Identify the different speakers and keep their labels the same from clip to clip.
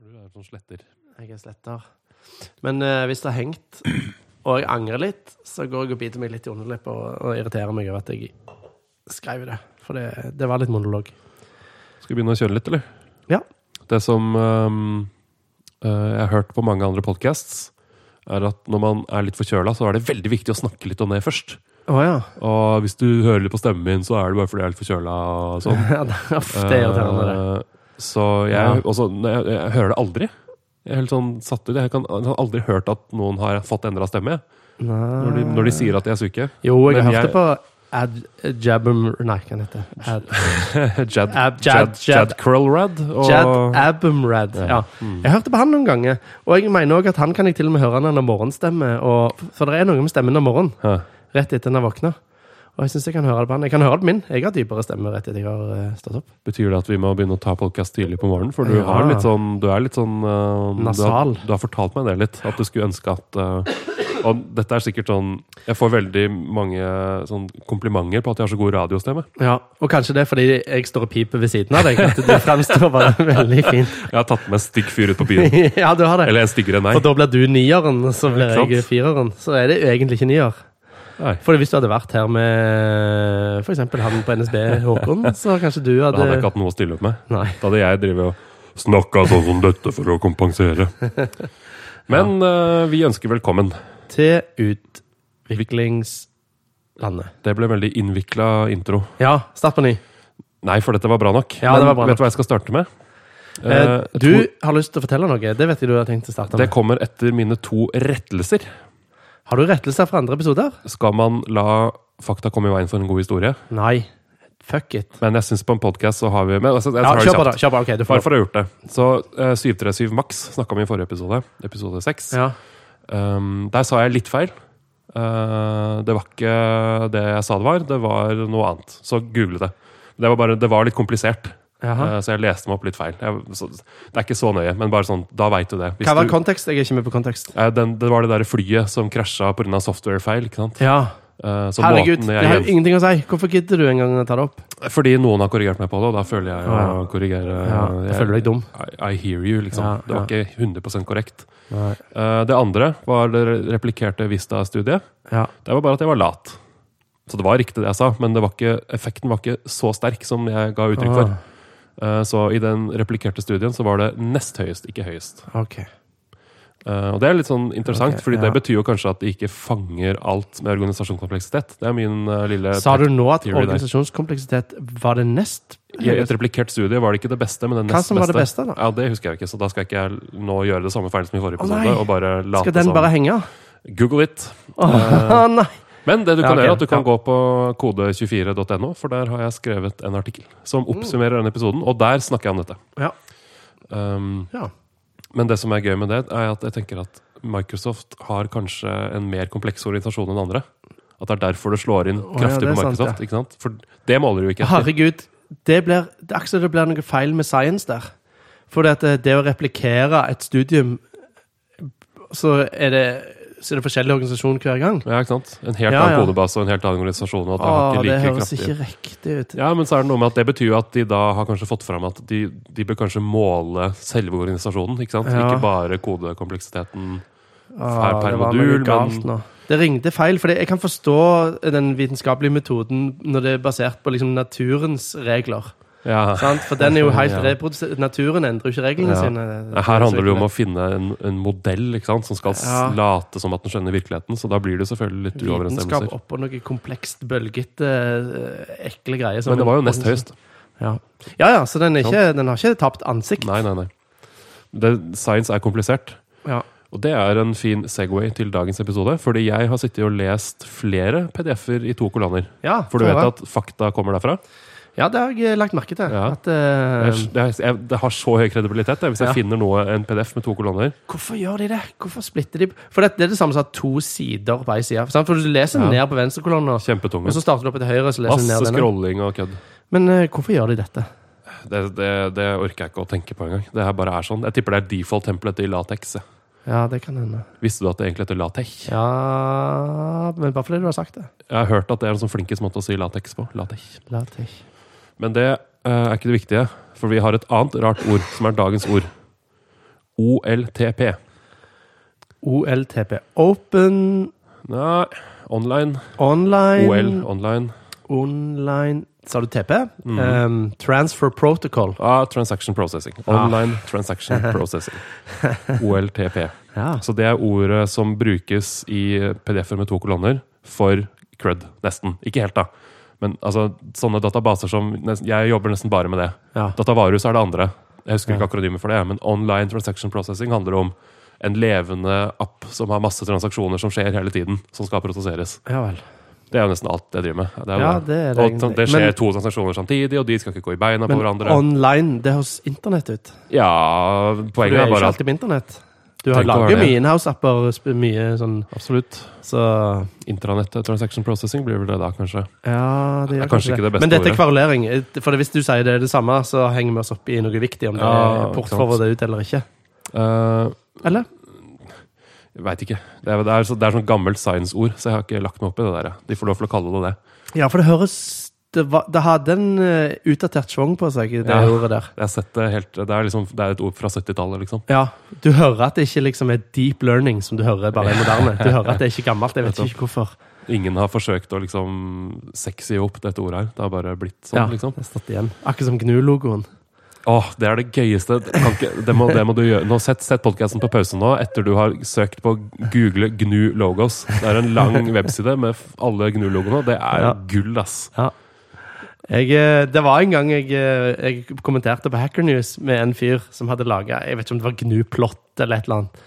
Speaker 1: For du er sånn sletter.
Speaker 2: Jeg er sletter. Men eh, hvis det har hengt, og jeg angrer litt, så går jeg og biter meg litt i underleppa og, og irriterer meg over at jeg skrev det. For det, det var litt monolog.
Speaker 1: Skal vi begynne å kjøre litt, eller?
Speaker 2: Ja.
Speaker 1: Det som ehm, eh, jeg har hørt på mange andre podcasts, er at når man er litt forkjøla, så er det veldig viktig å snakke litt om det først.
Speaker 2: Å ja.
Speaker 1: Og hvis du hører litt på stemmen min, så er det bare fordi jeg er litt forkjøla og sånn.
Speaker 2: Uff, det er irriterende, det.
Speaker 1: Eh, Så jeg,
Speaker 2: Ja.
Speaker 1: også, når jeg, jeg hører det aldri. Jeg er helt sånn satt ut. Jeg, kan, jeg har aldri hørt at noen har fått endra stemme. jeg, Når de, når de sier at de er syke.
Speaker 2: Jo, jeg
Speaker 1: Men
Speaker 2: har hørt
Speaker 1: jeg-
Speaker 2: det på Ad Jabum Nei, hva heter det? Ad,
Speaker 1: Jad, Jad,
Speaker 2: Ab-
Speaker 1: Jad,
Speaker 2: Jad- Jad-
Speaker 1: Crowlrad og Mm.
Speaker 2: Jad Abumrad. Ja. Jeg hørte på han noen ganger, og jeg mener også at han kan jeg til og med høre når han har morgenstemme. Og, for det er noe med stemmen om morgenen,
Speaker 1: Hæ.
Speaker 2: rett etter han har våkna. Og jeg synes jeg kan høre det på han. Jeg kan høre det på min. Jeg har dypere stemme rett etter jeg har eh, stått opp.
Speaker 1: Betyr det at vi må begynne å ta podkast tidlig på morgenen? For du,
Speaker 2: Ja.
Speaker 1: har litt sånn, du er litt sånn eh,
Speaker 2: Nasal.
Speaker 1: Du har, du har fortalt meg det litt. At du skulle ønske at eh, Og dette er sikkert sånn Jeg får veldig mange sånn, komplimenter på at jeg har så god radiostemme.
Speaker 2: Ja, Og kanskje det er fordi jeg står og piper ved siden av deg. At du fremstår bare veldig fint.
Speaker 1: Jeg har tatt med en stygg fyr ut på byen.
Speaker 2: ja, du har det.
Speaker 1: Eller en styggere enn
Speaker 2: For
Speaker 1: meg.
Speaker 2: da blir du nieren, og så blir
Speaker 1: Ikke
Speaker 2: jeg
Speaker 1: sant?
Speaker 2: fireren. Så er det jo egentlig ikke nier.
Speaker 1: Nei.
Speaker 2: Fordi hvis du hadde vært her med f.eks. han på NSB, Håkon, så kanskje du
Speaker 1: Da hadde jeg
Speaker 2: hadde
Speaker 1: ikke hatt noe å stille opp med.
Speaker 2: Nei.
Speaker 1: Da hadde jeg drevet og snakka sånn som dette for å kompensere. Men eh, vi ønsker velkommen.
Speaker 2: Til utviklingslandet.
Speaker 1: Det ble en veldig innvikla intro.
Speaker 2: Ja, start på ny.
Speaker 1: Nei, for dette var bra nok.
Speaker 2: Ja, det var bra
Speaker 1: vet du hva jeg skal starte med?
Speaker 2: Eh,
Speaker 1: Eh,
Speaker 2: du
Speaker 1: to-
Speaker 2: har lyst til å fortelle noe. Det vet jeg du har tenkt å starte
Speaker 1: det
Speaker 2: med.
Speaker 1: kommer etter mine to rettelser.
Speaker 2: Har du rettelser fra andre episoder?
Speaker 1: Skal man la fakta komme i veien for en god historie?
Speaker 2: Nei. Fuck it.
Speaker 1: Men jeg syns på en podkast så har vi men, altså, jeg,
Speaker 2: Ja,
Speaker 1: tar det
Speaker 2: kjør på,
Speaker 1: kjapt.
Speaker 2: da. Kjør på. Ok, du
Speaker 1: Bare
Speaker 2: får
Speaker 1: for å ha gjort det. Så eh, 737 Max snakka vi om i forrige episode. Episode 6.
Speaker 2: Ja.
Speaker 1: Um, der sa jeg litt feil. Uh, det var ikke det jeg sa det var, det var noe annet. Så google det. Det var, bare, det var litt komplisert,
Speaker 2: Jaha.
Speaker 1: uh, så jeg leste meg opp litt feil. Jeg, så, det er ikke så nøye, men bare sånn, da veit du det. Hvis
Speaker 2: Hva var
Speaker 1: du,
Speaker 2: kontekst? Jeg er ikke med på kontekst.
Speaker 1: Eh, den, det var det der flyet som krasja pga. softwarefeil. ikke sant?
Speaker 2: Ja.
Speaker 1: Uh, så
Speaker 2: Herregud,
Speaker 1: måten
Speaker 2: det
Speaker 1: jeg
Speaker 2: har jo
Speaker 1: gjen-
Speaker 2: ingenting å si. Hvorfor gidder du engang å ta det opp?
Speaker 1: Fordi noen har korrigert meg på det, og da føler jeg å
Speaker 2: Ja.
Speaker 1: korrigere.
Speaker 2: Ja, jeg føler deg dum.
Speaker 1: I, I hear you, liksom.
Speaker 2: Ja,
Speaker 1: det var ikke 100 korrekt.
Speaker 2: Nei.
Speaker 1: Uh, det andre var det replikerte Vista-studiet.
Speaker 2: Ja.
Speaker 1: Det var bare at jeg var lat. Så det var riktig det jeg sa, men det var ikke, effekten var ikke så sterk som jeg ga uttrykk
Speaker 2: Ah.
Speaker 1: for. Eh, Så i den replikerte studien så var det nest høyest, ikke høyest.
Speaker 2: Ah, ok.
Speaker 1: Eh, Og det er litt sånn interessant,
Speaker 2: Ok,
Speaker 1: fordi
Speaker 2: ja.
Speaker 1: det betyr jo kanskje at de ikke fanger alt med organisasjonskompleksitet. Det er min eh, lille
Speaker 2: Sa du nå at
Speaker 1: Theory der.
Speaker 2: organisasjonskompleksitet var det nest?
Speaker 1: I et replikert studie var det ikke det beste, men det
Speaker 2: Hva
Speaker 1: nest
Speaker 2: som var det beste, da?
Speaker 1: Ja, det husker jeg jo ikke, så da skal ikke jeg nå gjøre det samme feil som i forrige
Speaker 2: Å,
Speaker 1: episode.
Speaker 2: nei.
Speaker 1: og bare late
Speaker 2: Skal den
Speaker 1: som Eh,
Speaker 2: bare henge?
Speaker 1: Google it.
Speaker 2: Å nei!
Speaker 1: Men det du
Speaker 2: Ja,
Speaker 1: kan
Speaker 2: ok,
Speaker 1: gjøre er at du kan
Speaker 2: ja.
Speaker 1: gå på kode24.no, for der har jeg skrevet en artikkel som
Speaker 2: Mm.
Speaker 1: oppsummerer denne episoden, og der snakker jeg om dette.
Speaker 2: Ja.
Speaker 1: Um,
Speaker 2: ja.
Speaker 1: men det som er gøy med det, er at jeg tenker at Microsoft har kanskje en mer kompleks organisasjon enn andre. At det er derfor det slår inn
Speaker 2: ja,
Speaker 1: kraftig
Speaker 2: det er
Speaker 1: på
Speaker 2: sant,
Speaker 1: Microsoft. ikke sant? For det måler du ikke etter.
Speaker 2: Herregud, det blir det er akkurat som det blir noe feil med science der. For det, at det å replikere et studium, så er det, så er det forskjellig organisasjon hver gang.
Speaker 1: Ja, ikke sant? En helt
Speaker 2: Ja,
Speaker 1: annen
Speaker 2: ja.
Speaker 1: kodebase og en helt annen organisasjon. og at det
Speaker 2: Åh,
Speaker 1: har
Speaker 2: det
Speaker 1: ikke like
Speaker 2: høres
Speaker 1: kraftig.
Speaker 2: ikke riktig ut.
Speaker 1: Ja, men så er det noe med at det betyr jo at de da har kanskje fått fram at de, de bør kanskje måle selve organisasjonen, ikke sant?
Speaker 2: Ja.
Speaker 1: Ikke bare kodekompleksiteten.
Speaker 2: Åh,
Speaker 1: per
Speaker 2: det var
Speaker 1: modul,
Speaker 2: noe galt
Speaker 1: men-
Speaker 2: nå. Det ringte feil, for jeg kan forstå den vitenskapelige metoden når det er basert på liksom naturens regler.
Speaker 1: Ja.
Speaker 2: Sant? For den er jo helt
Speaker 1: Ja.
Speaker 2: reprodusert. Naturen endrer jo ikke reglene
Speaker 1: Ja.
Speaker 2: sine.
Speaker 1: Her handler det jo om å finne en, en modell ikke sant? som skal s-
Speaker 2: Ja.
Speaker 1: late som at den skjønner virkeligheten. Så da blir det selvfølgelig litt
Speaker 2: Vitenskap
Speaker 1: uoverensstemmelser.
Speaker 2: oppå noe komplekst, bølgete, eh, ekle greier. som-
Speaker 1: Men det var jo nest høyest.
Speaker 2: Ja, ja, ja så den, er ikke, den har ikke tapt ansikt.
Speaker 1: Nei, nei, nei. Det, science er komplisert.
Speaker 2: Ja.
Speaker 1: Og det er en fin Segway til dagens episode, fordi jeg har sittet og lest flere PDF-er i to kolonner.
Speaker 2: Ja,
Speaker 1: For du vet
Speaker 2: Tore.
Speaker 1: at fakta kommer derfra?
Speaker 2: Ja, det har jeg lagt merke til.
Speaker 1: Ja.
Speaker 2: At, eh,
Speaker 1: Jeg, jeg, jeg, det har så høy kredibilitet jeg, hvis jeg
Speaker 2: Ja.
Speaker 1: finner noe, en PDF med to kolonner.
Speaker 2: hvorfor gjør de det? Hvorfor splitter de For det, det er det samme som å ha to sider på ei side. sant? For du leser
Speaker 1: Ja.
Speaker 2: ned på venstrekolonna, og
Speaker 1: Kjempetunge.
Speaker 2: så starter du opp til høyre, og så leser du
Speaker 1: Masse
Speaker 2: ned denne.
Speaker 1: scrolling og kødd.
Speaker 2: Men eh, hvorfor gjør de dette?
Speaker 1: Det, det, det orker jeg ikke å tenke på engang. Det her bare er sånn. Jeg tipper det er default-tempelet til Latex.
Speaker 2: Ja, det kan hende.
Speaker 1: Visste du at det egentlig heter latex?
Speaker 2: Ja Men bare fordi du har sagt det.
Speaker 1: Jeg har hørt at det er en sånn flinkest måte å si latex på. Latex.
Speaker 2: Latex.
Speaker 1: Men det eh, er ikke det viktige, for vi har et annet rart ord som er dagens ord. OLTP.
Speaker 2: OLTP. Open
Speaker 1: Nei, online.
Speaker 2: Online
Speaker 1: OL, online.
Speaker 2: Online Sa du TP?
Speaker 1: Mhm.
Speaker 2: Um, transfer Protocol.
Speaker 1: Ah, transaction processing.
Speaker 2: Ah.
Speaker 1: Online transaction processing. OLTP.
Speaker 2: Ja.
Speaker 1: Så det er ordet som brukes i PDF-er med to kolonner for CRUD, nesten. Ikke helt, da. Men altså, sånne databaser som nesten, Jeg jobber nesten bare med det.
Speaker 2: Ja.
Speaker 1: Datavarus er det andre. Jeg husker
Speaker 2: Ja.
Speaker 1: ikke akronymet for det, men Online Transaction Processing handler om en levende app som har masse transaksjoner som skjer hele tiden, som skal prosesseres.
Speaker 2: ja vel.
Speaker 1: Det er jo nesten alt jeg driver med. Det er jo
Speaker 2: Ja, det er det
Speaker 1: og sånn,
Speaker 2: egentlig.
Speaker 1: det skjer
Speaker 2: Men-
Speaker 1: to transaksjoner samtidig, og de skal ikke gå i beina på
Speaker 2: Men
Speaker 1: hverandre.
Speaker 2: online, det høres internett ut.
Speaker 1: Ja,
Speaker 2: For du
Speaker 1: poenget
Speaker 2: er
Speaker 1: er
Speaker 2: jo ikke
Speaker 1: bare at
Speaker 2: alltid på internett. Du har
Speaker 1: Tenk å være det.
Speaker 2: laget mye inhouse-apper, sp- mye sånn
Speaker 1: Absolutt.
Speaker 2: Så
Speaker 1: Intranett eh, transaction processing blir vel det da, kanskje.
Speaker 2: ja, det
Speaker 1: Det
Speaker 2: gjør
Speaker 1: er kanskje ikke det beste
Speaker 2: Men dette er
Speaker 1: ordet.
Speaker 2: kverulering. For hvis du sier det er det samme, så henger vi oss opp i noe viktig, om det
Speaker 1: Ja,
Speaker 2: er
Speaker 1: ikke sant.
Speaker 2: portforwardet ut eller ikke.
Speaker 1: Eh,
Speaker 2: Eller?
Speaker 1: Jeg Veit ikke. Det er, det, er så, det er sånn gammelt science-ord, så jeg har ikke lagt meg opp i det der. De får lov til å kalle det det.
Speaker 2: Ja, for det høres Det, var, det hadde en eh, utdatert schwung på seg, det
Speaker 1: Ja.
Speaker 2: ordet der.
Speaker 1: Jeg har sett det helt Det er, liksom, det er et ord fra 70-tallet, liksom.
Speaker 2: Ja, Du hører at det ikke liksom er deep learning, som du hører bare er moderne. Du hører at det er ikke gammelt. Jeg vet
Speaker 1: Nettopp.
Speaker 2: ikke hvorfor.
Speaker 1: Ingen har forsøkt å liksom sexy opp dette ordet her. Det har bare blitt sånn,
Speaker 2: Ja,
Speaker 1: liksom.
Speaker 2: det har stått igjen. Akkurat som GNU-logoen.
Speaker 1: Åh, det er det gøyeste. Det Kan ikke, det, må, det må du gjøre. Nå Sett, sett podkasten på pause nå, etter du har søkt på google GNU Logos. Det er en lang webside med f- alle GNU-logoene. Det er
Speaker 2: Ja.
Speaker 1: gull, ass.
Speaker 2: Jeg, eh, det var en gang jeg, eh, jeg kommenterte på Hacker News med en fyr som hadde laga Jeg vet ikke om det var GNU Plott eller et eller annet.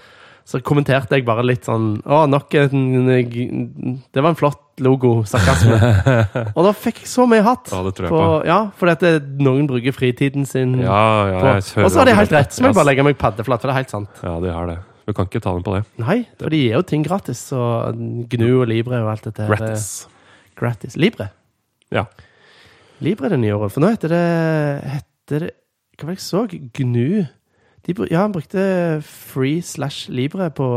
Speaker 2: Så kommenterte jeg bare litt sånn Å, nok en eh, g- Det var en flott logo. Sarkasme. Og da fikk jeg så mye hatt.
Speaker 1: Ja, det tror jeg
Speaker 2: på,
Speaker 1: på.
Speaker 2: ja, fordi at det, noen bruker fritiden sin
Speaker 1: Ja, ja,
Speaker 2: på
Speaker 1: jeg kjører
Speaker 2: Og så har de helt
Speaker 1: det.
Speaker 2: rett, så må jeg bare legge meg paddeflat, for det er helt sant.
Speaker 1: Ja, de har det. Du kan ikke ta den på det.
Speaker 2: Nei, for de gir jo ting gratis. Så GNU og Libre og alt dette. her, eh,
Speaker 1: Rattis.
Speaker 2: Gratis. Libre.
Speaker 1: Ja.
Speaker 2: Libre er det nye året. For nå heter det, heter det Hva var det jeg så? GNU. De, bru- ja, han brukte free slash libre på,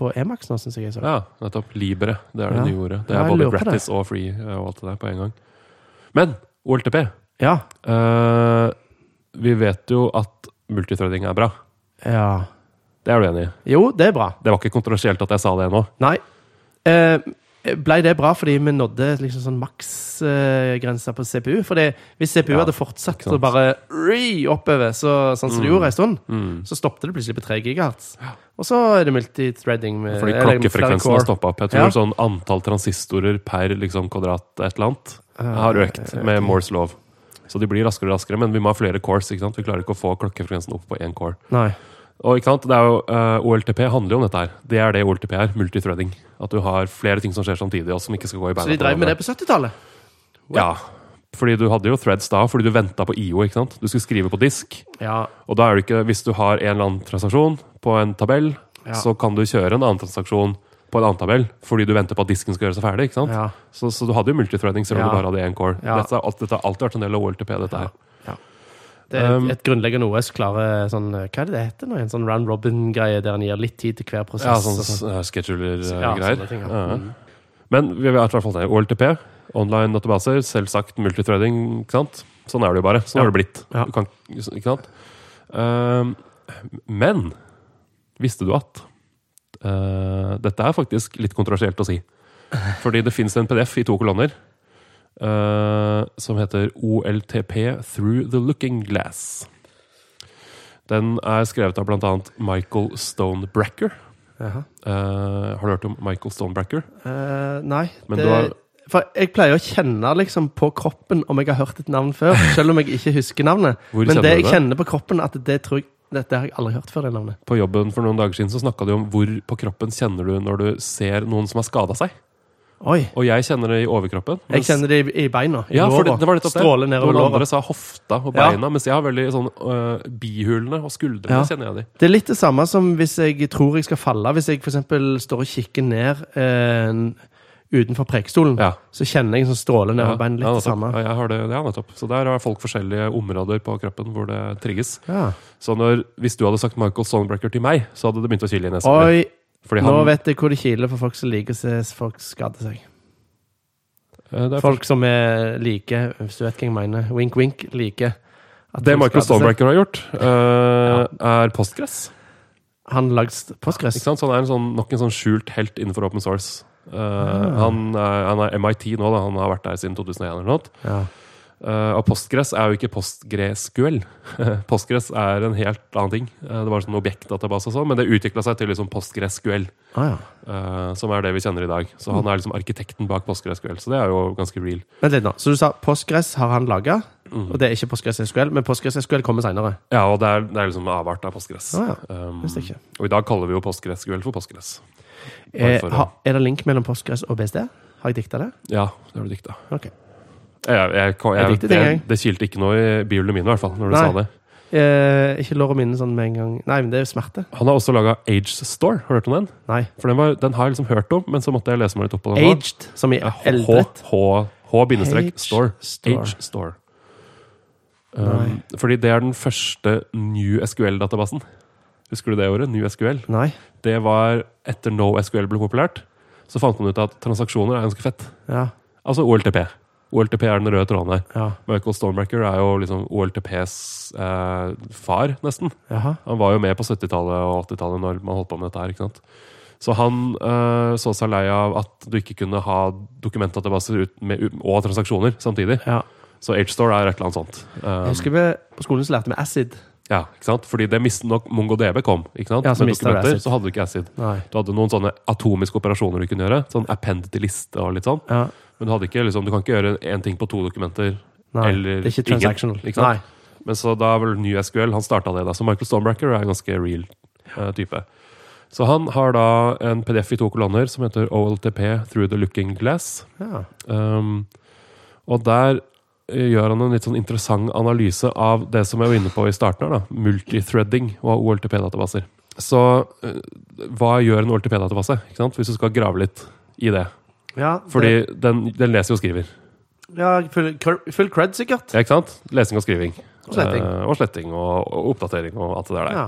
Speaker 2: på Emax nå, syns jeg jeg så.
Speaker 1: Ja, nettopp. Libre. Det er det
Speaker 2: Ja.
Speaker 1: nye ordet. Det
Speaker 2: Ja,
Speaker 1: er
Speaker 2: jeg
Speaker 1: både
Speaker 2: lurer på det.
Speaker 1: gratis og free eh, og alt det der på en gang. Men OLTP
Speaker 2: Ja.
Speaker 1: eh, Vi vet jo at multithreading er bra.
Speaker 2: ja.
Speaker 1: Det er du enig i?
Speaker 2: Jo, det er bra.
Speaker 1: Det var ikke kontroversielt at jeg sa det nå.
Speaker 2: Nei. Eh, Blei det bra fordi vi nådde liksom sånn maksgrensa på CPU? Fordi hvis CPU
Speaker 1: Ja,
Speaker 2: hadde fortsatt
Speaker 1: ikke sant.
Speaker 2: å bare ri oppover, så, sånn som det gjorde en stund,
Speaker 1: Mm.
Speaker 2: så stoppet det plutselig på 3 gigahertz. Og så er det multithreading med
Speaker 1: Fordi
Speaker 2: eller med flere
Speaker 1: klokkefrekvensen
Speaker 2: core.
Speaker 1: har stoppa opp. Jeg tror
Speaker 2: Ja.
Speaker 1: sånn antall transistorer per liksom, kvadrat et eller annet
Speaker 2: Eh,
Speaker 1: har økt med Moores lov. Så de blir raskere og raskere, men vi må ha flere cores. ikke sant? Vi klarer ikke å få klokkefrekvensen opp på én core.
Speaker 2: Nei.
Speaker 1: Og ikke sant, det er jo, eh, OLTP handler jo om dette her. Det er det OLTP er. Multithreading. At du har flere ting som skjer samtidig, og som ikke skal gå i beina.
Speaker 2: Så de
Speaker 1: på
Speaker 2: drev med det
Speaker 1: hverandre.
Speaker 2: på 70-tallet?
Speaker 1: Ja. Fordi du hadde jo threads da, fordi du venta på IO. ikke sant? Du skulle skrive på disk.
Speaker 2: Ja.
Speaker 1: Og da er det ikke Hvis du har en eller annen transaksjon på en tabell,
Speaker 2: Ja.
Speaker 1: så kan du kjøre en annen transaksjon på en annen tabell fordi du venter på at disken skal gjøre seg ferdig. ikke sant?
Speaker 2: Ja.
Speaker 1: Så, så du hadde jo multithreading selv om
Speaker 2: Ja.
Speaker 1: du bare hadde én core.
Speaker 2: Ja.
Speaker 1: Dette, er alt, dette har alltid vært en del av OLTP, dette her.
Speaker 2: Det er
Speaker 1: Um,
Speaker 2: et, et grunnleggende OS klarer sånn Hva er det det heter nå? En sånn round robin-greie der en gir litt tid til hver prosess?
Speaker 1: Ja, sånn
Speaker 2: og sånn.
Speaker 1: eh,
Speaker 2: Ja,
Speaker 1: scheduler-greier.
Speaker 2: sånne ting, ja. Mm.
Speaker 1: Ja. Men vi har i hvert fall det. OLTP, online databaser, selvsagt multithreading. ikke sant? Sånn er det jo bare. Sånn
Speaker 2: Ja.
Speaker 1: har det blitt.
Speaker 2: Ja.
Speaker 1: Du kan, ikke sant? Ehm, men visste du at eh, Dette er faktisk litt kontroversielt å si. Fordi det fins en PDF i to kolonner eh, som heter OLTP Through the Looking Glass. Den er skrevet av bl.a. Michael Stonebracker.
Speaker 2: Jaha.
Speaker 1: Eh, har du hørt om Michael Stonebracker?
Speaker 2: Eh, nei.
Speaker 1: Men
Speaker 2: det,
Speaker 1: du har-
Speaker 2: For jeg pleier å kjenne liksom på kroppen om jeg har hørt et navn før, selv om jeg ikke husker navnet.
Speaker 1: Hvor
Speaker 2: Men
Speaker 1: kjenner
Speaker 2: det
Speaker 1: du
Speaker 2: jeg
Speaker 1: det?
Speaker 2: kjenner på kroppen, at det tror jeg dette har jeg aldri hørt før, det navnet.
Speaker 1: på jobben for noen dager siden så snakka du om hvor på kroppen kjenner du når du ser noen som har skada seg.
Speaker 2: Oi.
Speaker 1: Og jeg kjenner det i overkroppen.
Speaker 2: Jeg kjenner det i, i beina. I
Speaker 1: ja, for det,
Speaker 2: låra.
Speaker 1: det var nettopp det.
Speaker 2: Stråler nedover
Speaker 1: Noen andre
Speaker 2: låret.
Speaker 1: sa hofta og
Speaker 2: Ja.
Speaker 1: beina, mens jeg har veldig sånn øh, bihulene og skuldrene
Speaker 2: Ja.
Speaker 1: kjenner jeg de.
Speaker 2: Det er litt det samme som hvis jeg tror jeg skal falle. Hvis jeg f.eks. står og kikker ned eh, utenfor prekestolen,
Speaker 1: Ja.
Speaker 2: så kjenner jeg en sånn stråle
Speaker 1: Ja,
Speaker 2: nedover beinet. Litt
Speaker 1: ja,
Speaker 2: det samme.
Speaker 1: nettopp. Ja, jeg har det, ja, nettopp. Så der har folk forskjellige områder på kroppen hvor det trigges.
Speaker 2: Ja.
Speaker 1: Så når, hvis du hadde sagt Michael Sonebrecker til meg, så hadde det begynt å kile i nesa. mi.
Speaker 2: Oi,
Speaker 1: Fordi
Speaker 2: nå
Speaker 1: han,
Speaker 2: vet jeg hvor det kiler for folk som liker å se folk skade seg.
Speaker 1: eh, det, er,
Speaker 2: Folk som er like, hvis du vet hva jeg mener, wink wink, like at
Speaker 1: det
Speaker 2: folk
Speaker 1: Michael
Speaker 2: skader seg.
Speaker 1: Sonebrecker har gjort, øh, er postgress.
Speaker 2: han lagd Postgres?
Speaker 1: Ikke sant? Så han er en sånn, nok en sånn skjult helt innenfor open source. Eh,
Speaker 2: Ah.
Speaker 1: han, er, han er MIT nå, da. han har vært der siden 2001 eller noe.
Speaker 2: Ja.
Speaker 1: Eh, og Postgres er jo ikke postgresQL. Postgres er en helt annen ting. Eh, det var sånn objektdatabase og sånn, men det utvikla seg til liksom postgresQL.
Speaker 2: Ah, ja.
Speaker 1: eh, som er det vi kjenner i dag. Så han er liksom arkitekten bak postgresQL, så det er jo ganske real.
Speaker 2: Vent litt nå. Så du sa Postgres har han laga,
Speaker 1: Mhm.
Speaker 2: og det er ikke Postgres SQL, men Postgres SQL kommer seinere.
Speaker 1: Ja, og det er, det er liksom avart av postgress.
Speaker 2: Ah, ja.
Speaker 1: Um,
Speaker 2: Visste ikke.
Speaker 1: og i dag kaller vi jo postgressQL for postgress.
Speaker 2: Er,
Speaker 1: for å-
Speaker 2: Eh, er det link mellom Postgres og BSD? Har jeg dikta det?
Speaker 1: Ja, det har du dikta.
Speaker 2: Ok.
Speaker 1: Jeg, jeg, jeg,
Speaker 2: Jeg
Speaker 1: jeg,
Speaker 2: likte det,
Speaker 1: det,
Speaker 2: jeg.
Speaker 1: det kilte ikke noe i bihulene mine, i hvert fall. når du
Speaker 2: Nei.
Speaker 1: sa det.
Speaker 2: Eh, ikke lår og minne sånn med en gang. Nei, men det er jo smerte.
Speaker 1: Han har også laga Age Store. Har du hørt om den?
Speaker 2: Nei.
Speaker 1: For den, var, den har jeg liksom hørt om, men så måtte jeg lese meg litt opp på den.
Speaker 2: Aged, som i
Speaker 1: Ja, H-
Speaker 2: eldret.
Speaker 1: H- H-store.
Speaker 2: Age
Speaker 1: Store.
Speaker 2: Store.
Speaker 1: Age Store. Um, fordi det er den første New SQL-databasen. Husker du det året? New SQL.
Speaker 2: Nei.
Speaker 1: Det var etter No SQL ble populært. Så fant man ut at transaksjoner er ganske fett.
Speaker 2: Ja.
Speaker 1: Altså OLTP. OLTP er den røde tråden her.
Speaker 2: ja.
Speaker 1: Michael Stormbreaker er jo liksom OLTPs eh, far, nesten.
Speaker 2: Jaha.
Speaker 1: Han var jo med på 70-tallet og 80-tallet når man holdt på med dette her. ikke sant? Så han eh, så seg lei av at du ikke kunne ha dokumentdatabaser ut med, og transaksjoner samtidig.
Speaker 2: Ja.
Speaker 1: Så H-Store er et eller annet sånt.
Speaker 2: Jeg
Speaker 1: Um,
Speaker 2: husker vi på skolen så lærte vi acid.
Speaker 1: ja, ikke sant? Fordi det mistet nok MongoDB kom. ikke sant?
Speaker 2: Ja, så
Speaker 1: med
Speaker 2: mistet det
Speaker 1: dokumenter
Speaker 2: ACID.
Speaker 1: så hadde du ikke ACID.
Speaker 2: Nei.
Speaker 1: Du hadde noen sånne atomiske operasjoner du kunne gjøre. Sånn append til liste og litt sånn.
Speaker 2: Ja.
Speaker 1: Men du, hadde ikke, liksom, du kan ikke gjøre én ting på to dokumenter.
Speaker 2: Nei.
Speaker 1: Eller
Speaker 2: det er ikke
Speaker 1: ingen,
Speaker 2: transactional.
Speaker 1: ikke sant? Men så da er vel ny SQL, han starta det da. Så Michael Stormbreaker er en ganske real eh, type. Så han har da en PDF i to kolonner som heter OLTP Through the Looking Glass.
Speaker 2: Nei. Ja.
Speaker 1: Um, og der eh, gjør han en litt sånn interessant analyse av det som jeg var inne på i starten her, da. Multithreading og OLTP-databaser. Så eh, hva gjør en OLTP-database, ikke sant? hvis du skal grave litt i det?
Speaker 2: ja
Speaker 1: Fordi den, den leser og skriver.
Speaker 2: det- ja, full, cr- full cred, sikkert.
Speaker 1: Ja, ikke sant? Lesing og skriving.
Speaker 2: Og sletting.
Speaker 1: Eh, og sletting og, og oppdatering og alt det der.
Speaker 2: Ja.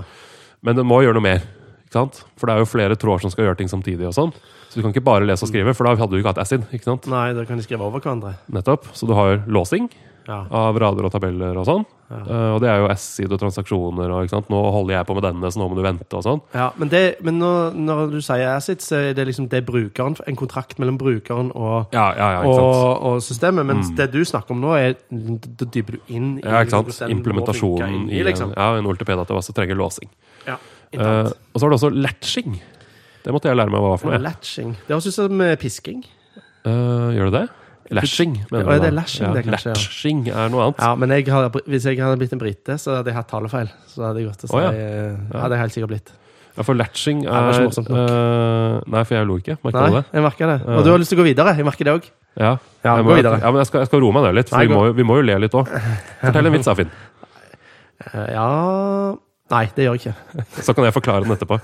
Speaker 1: Men den må gjøre noe mer. Ikke sant? For det er jo flere tråder som skal gjøre ting samtidig. og sånn. Så du kan ikke bare lese og skrive, for da hadde du ikke hatt acid. ikke sant?
Speaker 2: Nei, da kan de skrive over hverandre.
Speaker 1: Nettopp. Så du har låsing
Speaker 2: Ja.
Speaker 1: av rader og tabeller og sånn.
Speaker 2: Ja.
Speaker 1: Eh, og det er jo acid og transaksjoner og ikke sant? Nå holder jeg på med denne, så nå må du vente og sånn.
Speaker 2: Ja, men, det, men når, når du sier ACID, så er det liksom det er brukeren, en kontrakt mellom brukeren og,
Speaker 1: Ja, ja, ja, ikke
Speaker 2: og,
Speaker 1: sant? Mm.
Speaker 2: og systemet. Mens det du snakker om nå, er da dyper du inn i
Speaker 1: Ja, ikke sant?
Speaker 2: hvordan den må
Speaker 1: Implementasjonen
Speaker 2: funke
Speaker 1: i
Speaker 2: inni, liksom.
Speaker 1: en- ja, en OLTP-database trenger låsing.
Speaker 2: Ja,
Speaker 1: Eh,
Speaker 2: internt.
Speaker 1: og så har du også latching. Det måtte jeg lære meg hva var for noe.
Speaker 2: Latching. Det høres ut som eh, pisking.
Speaker 1: Eh, gjør du det? Lashing, mener
Speaker 2: Å, er
Speaker 1: du da?
Speaker 2: det lashing det kanskje, ja.
Speaker 1: Latching er noe annet.
Speaker 2: Ja, men jeg har, hvis jeg hadde blitt en brite, så hadde jeg hatt talefeil. Så hadde jeg gått
Speaker 1: Å,
Speaker 2: og si,
Speaker 1: ja.
Speaker 2: eh, hadde jeg helt sikkert blitt.
Speaker 1: Ja, for latching
Speaker 2: det var
Speaker 1: er
Speaker 2: ikke morsomt nok.
Speaker 1: eh, Nei, for jeg lo ikke. Merka
Speaker 2: Nei,
Speaker 1: du det?
Speaker 2: jeg merker det.
Speaker 1: Ja.
Speaker 2: Og du har lyst til å gå videre. Jeg merker det òg.
Speaker 1: Ja.
Speaker 2: Ja,
Speaker 1: Jeg
Speaker 2: gå
Speaker 1: må-
Speaker 2: videre.
Speaker 1: Ja, men jeg skal, jeg skal roe meg ned litt, for
Speaker 2: Nei,
Speaker 1: vi,
Speaker 2: gå.
Speaker 1: må, jo- vi må jo le litt òg. Fortell en vits, da, Finn.
Speaker 2: Eh, Ja Nei, det gjør jeg ikke.
Speaker 1: Så kan jeg forklare den etterpå.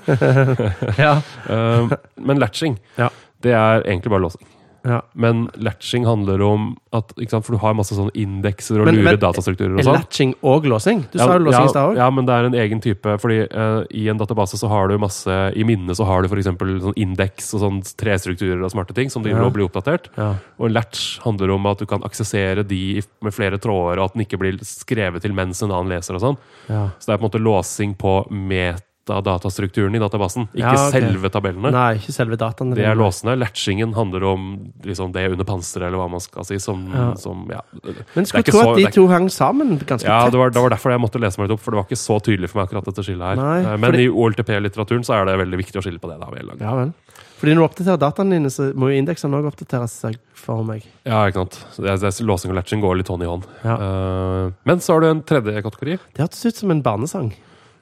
Speaker 2: Ja.
Speaker 1: Eh, men latching,
Speaker 2: Ja.
Speaker 1: det er egentlig bare låsing.
Speaker 2: ja.
Speaker 1: Men latching handler om at ikke sant, For du har masse sånne indekser og
Speaker 2: Men-
Speaker 1: lure
Speaker 2: men-
Speaker 1: datastrukturer og
Speaker 2: Er
Speaker 1: sånn.
Speaker 2: latching og låsing? Du
Speaker 1: Ja,
Speaker 2: sa jo låsing i stad òg.
Speaker 1: ja, men det er en egen type. Fordi eh, i en database så har du masse I minnene så har du f.eks. sånn indeks og sånn trestrukturer og smarte ting som driver
Speaker 2: Ja.
Speaker 1: og blir oppdatert.
Speaker 2: Ja.
Speaker 1: Og en latch handler om at du kan aksessere de i- med flere tråder, og at den ikke blir skrevet til mens en annen leser og sånn.
Speaker 2: Ja.
Speaker 1: Så det er på en måte låsing på metadatastrukturen i databasen, ikke
Speaker 2: Ja, ok.
Speaker 1: selve tabellene.
Speaker 2: Nei, ikke selve dataene.
Speaker 1: Det
Speaker 2: dine.
Speaker 1: er låsende. Latchingen handler om liksom det under panseret, eller hva man skal si. Som,
Speaker 2: Ja.
Speaker 1: som ja.
Speaker 2: Men
Speaker 1: Det er
Speaker 2: skulle
Speaker 1: ikke
Speaker 2: tro
Speaker 1: så-
Speaker 2: at
Speaker 1: det
Speaker 2: de
Speaker 1: er
Speaker 2: to hang sammen ganske
Speaker 1: Ja,
Speaker 2: tett.
Speaker 1: det var, det var derfor jeg måtte lese meg litt opp, for det var ikke så tydelig for meg akkurat dette skillet her.
Speaker 2: Nei,
Speaker 1: Eh, Men i
Speaker 2: fordi-
Speaker 1: OLTP-litteraturen så er det veldig viktig å skille på det. da, av en eller annen grunn.
Speaker 2: Ja vel. Fordi når du oppdaterer dataene dine, så må jo indeksene òg oppdateres seg for meg.
Speaker 1: Ja, ikke sant? Så Det, det, låsing og latching går litt hånd i hånd.
Speaker 2: Ja.
Speaker 1: Eh, men så har du en tredje kategori.
Speaker 2: Det hørtes ut som en barnesang.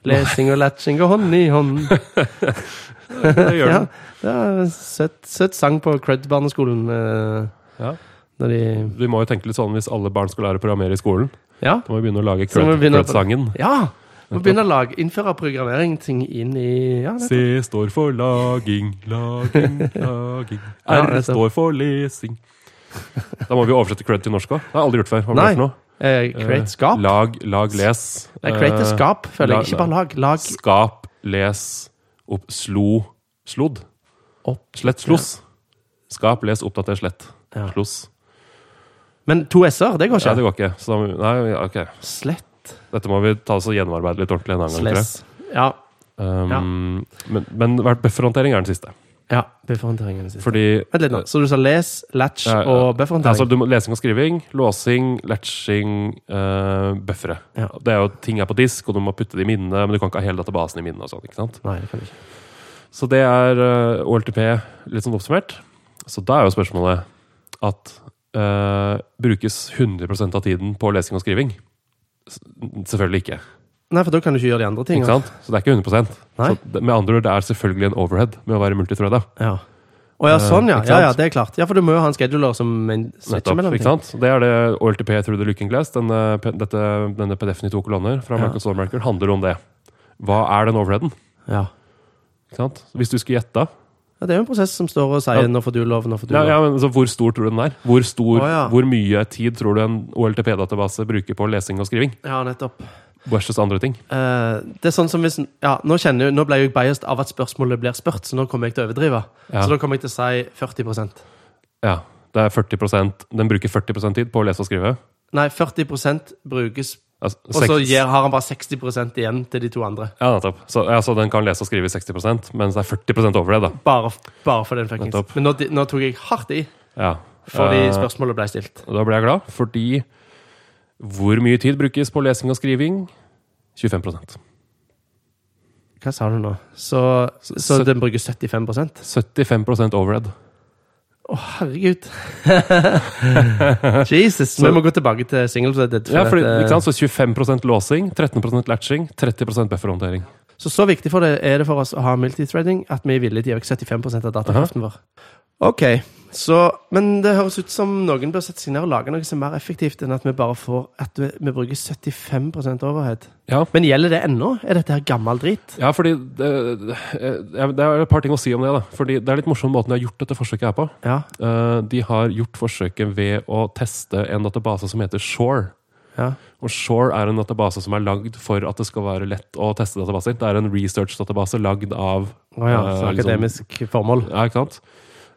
Speaker 2: Lesing og latching går hånd i hånd.
Speaker 1: Det gjør
Speaker 2: Ja,
Speaker 1: den.
Speaker 2: det er en søt, søt sang på Cred-barneskolen. eh,
Speaker 1: Ja.
Speaker 2: Når de
Speaker 1: Vi må jo tenke litt sånn hvis alle barn skal lære å programmere i skolen.
Speaker 2: Ja!
Speaker 1: Da må vi begynne å lage
Speaker 2: Så må vi begynne å-
Speaker 1: Crud-sangen.
Speaker 2: ja. Må begynne å lage, innføre programmering-ting inn i ja, det-
Speaker 1: C står for laging, laging, laging.
Speaker 2: Ja,
Speaker 1: R
Speaker 2: nettopp.
Speaker 1: står for lesing. Da må vi oversette Crud til norsk òg. Det har jeg aldri gjort før. Hva blir det for
Speaker 2: Nei.
Speaker 1: noe?
Speaker 2: eh,
Speaker 1: Eh,
Speaker 2: Create skap.
Speaker 1: Lag, lag, les.
Speaker 2: Nei, create
Speaker 1: Eh,
Speaker 2: skap, føler
Speaker 1: la-
Speaker 2: jeg. Ikke bare lag. Lag
Speaker 1: Skap, les, opp, slo, slodd.
Speaker 2: opp.
Speaker 1: Slett, sloss. Skap, les, oppdater, slett.
Speaker 2: Ja.
Speaker 1: Sloss.
Speaker 2: Men to s-er, det går
Speaker 1: Ja, det
Speaker 2: ikke.
Speaker 1: går ikke. Så da, må vi- nei, ja, ok.
Speaker 2: Slett.
Speaker 1: Dette må vi ta oss og gjennomarbeide litt ordentlig en annen gang. tror jeg.
Speaker 2: Sless. Ja.
Speaker 1: Um, Men, men bufferhåndtering er den siste.
Speaker 2: Ja, bufferhåndtering er det siste.
Speaker 1: Fordi
Speaker 2: Vent litt nå. Så du sa les, latch
Speaker 1: Ja, ja.
Speaker 2: og
Speaker 1: det er altså,
Speaker 2: bufferhåndtering?
Speaker 1: du må, lesing og skriving, låsing, latching, uh, buffere.
Speaker 2: Ja.
Speaker 1: Det er jo ting er på disk, og du må putte det i minnet, men du kan ikke ha hele databasen i minnet. og sånn, ikke sant?
Speaker 2: Nei, det kan du ikke.
Speaker 1: Så det er eh, OLTP litt sånn oppsummert. Så da er jo spørsmålet at eh, brukes 100 av tiden på lesing og skriving? S selvfølgelig ikke.
Speaker 2: Nei, for da kan du ikke gjøre de andre
Speaker 1: ikke
Speaker 2: tingene.
Speaker 1: sant? Så det er ikke 100 så
Speaker 2: Nei.
Speaker 1: det, Med andre ord, det er selvfølgelig en overhead med å være multithreada.
Speaker 2: Ja. Å ja, sånn, ja.
Speaker 1: Eh, ikke sant?
Speaker 2: ja. Ja, det er klart. Ja, for du må jo ha en scheduler som en switcher
Speaker 1: Nettopp,
Speaker 2: mellom
Speaker 1: ikke
Speaker 2: ting.
Speaker 1: sant? Det er det OLTP Through the Looking Glass, denne, P- dette, denne PDF-en i to kolonner fra
Speaker 2: Ja.
Speaker 1: Microsoft Marker, handler om det. Hva er den overheaden?
Speaker 2: Ja.
Speaker 1: Ikke sant? Hvis du skulle gjette
Speaker 2: ja, det er jo en prosess som står og
Speaker 1: Ja.
Speaker 2: sier 'nå får du lov', 'nå får du
Speaker 1: ja,
Speaker 2: lov'.
Speaker 1: ja, men altså, Hvor stor tror du den er? Hvor, stor,
Speaker 2: Å, ja.
Speaker 1: hvor mye tid tror du en OLTP-database bruker på lesing og skriving?
Speaker 2: Ja, nettopp.
Speaker 1: Versus andre ting.
Speaker 2: Eh, det er sånn som hvis ja, nå, kjenner, jeg- nå ble jeg jo biased av at spørsmålet blir spurt, så nå kommer jeg til å overdrive.
Speaker 1: Ja.
Speaker 2: Så da kommer jeg til å si 40
Speaker 1: Ja, det er 40 Den bruker 40 tid på å lese og skrive.
Speaker 2: Nei, 40 brukes,
Speaker 1: Altså,
Speaker 2: og så
Speaker 1: seks-
Speaker 2: gir- har han bare 60 igjen til de to andre.
Speaker 1: Ja, nettopp. Så, ja, så den kan lese og skrive i 60 mens det er 40 over det, da.
Speaker 2: Bare, bare for den fuckings.
Speaker 1: Nettopp.
Speaker 2: Men nå, nå tok jeg hardt i,
Speaker 1: Ja.
Speaker 2: fordi
Speaker 1: Eh,
Speaker 2: spørsmålet ble stilt.
Speaker 1: Og da ble jeg glad, fordi hvor mye tid brukes på lesing og skriving? 25
Speaker 2: Hva sa du nå? Så, så,
Speaker 1: så-
Speaker 2: den bruker 75
Speaker 1: 75 overhead.
Speaker 2: Å, herregud. Jesus.
Speaker 1: Så-
Speaker 2: vi må gå tilbake til singleplated.
Speaker 1: Ja, fordi, ikke sant? Så 25 låsing, 13 latching, 30 bufferhåndtering.
Speaker 2: Så så viktig for det er det for oss å ha multithreading at vi er villige til å øke 75 av datakraften vår. Ok, så, Men det høres ut som noen bør sette seg ned og lage noe som er mer effektivt enn at vi bare får at vi, vi bruker 75 overhead.
Speaker 1: Ja.
Speaker 2: Men gjelder det ennå? Er dette her gammel drit?
Speaker 1: Ja, fordi det, eh, ja, det er et par ting å si om det. da Fordi Det er litt morsom måten de har gjort dette forsøket her på.
Speaker 2: Ja.
Speaker 1: Eh, De har gjort forsøket ved å teste en database som heter Shore.
Speaker 2: ja.
Speaker 1: Og Shore er en database som er lagd for at det skal være lett å teste databaser. Det er en research-database lagd av
Speaker 2: Å ja,
Speaker 1: eh,
Speaker 2: så
Speaker 1: liksom-
Speaker 2: akademisk formål.
Speaker 1: Ja, ikke sant?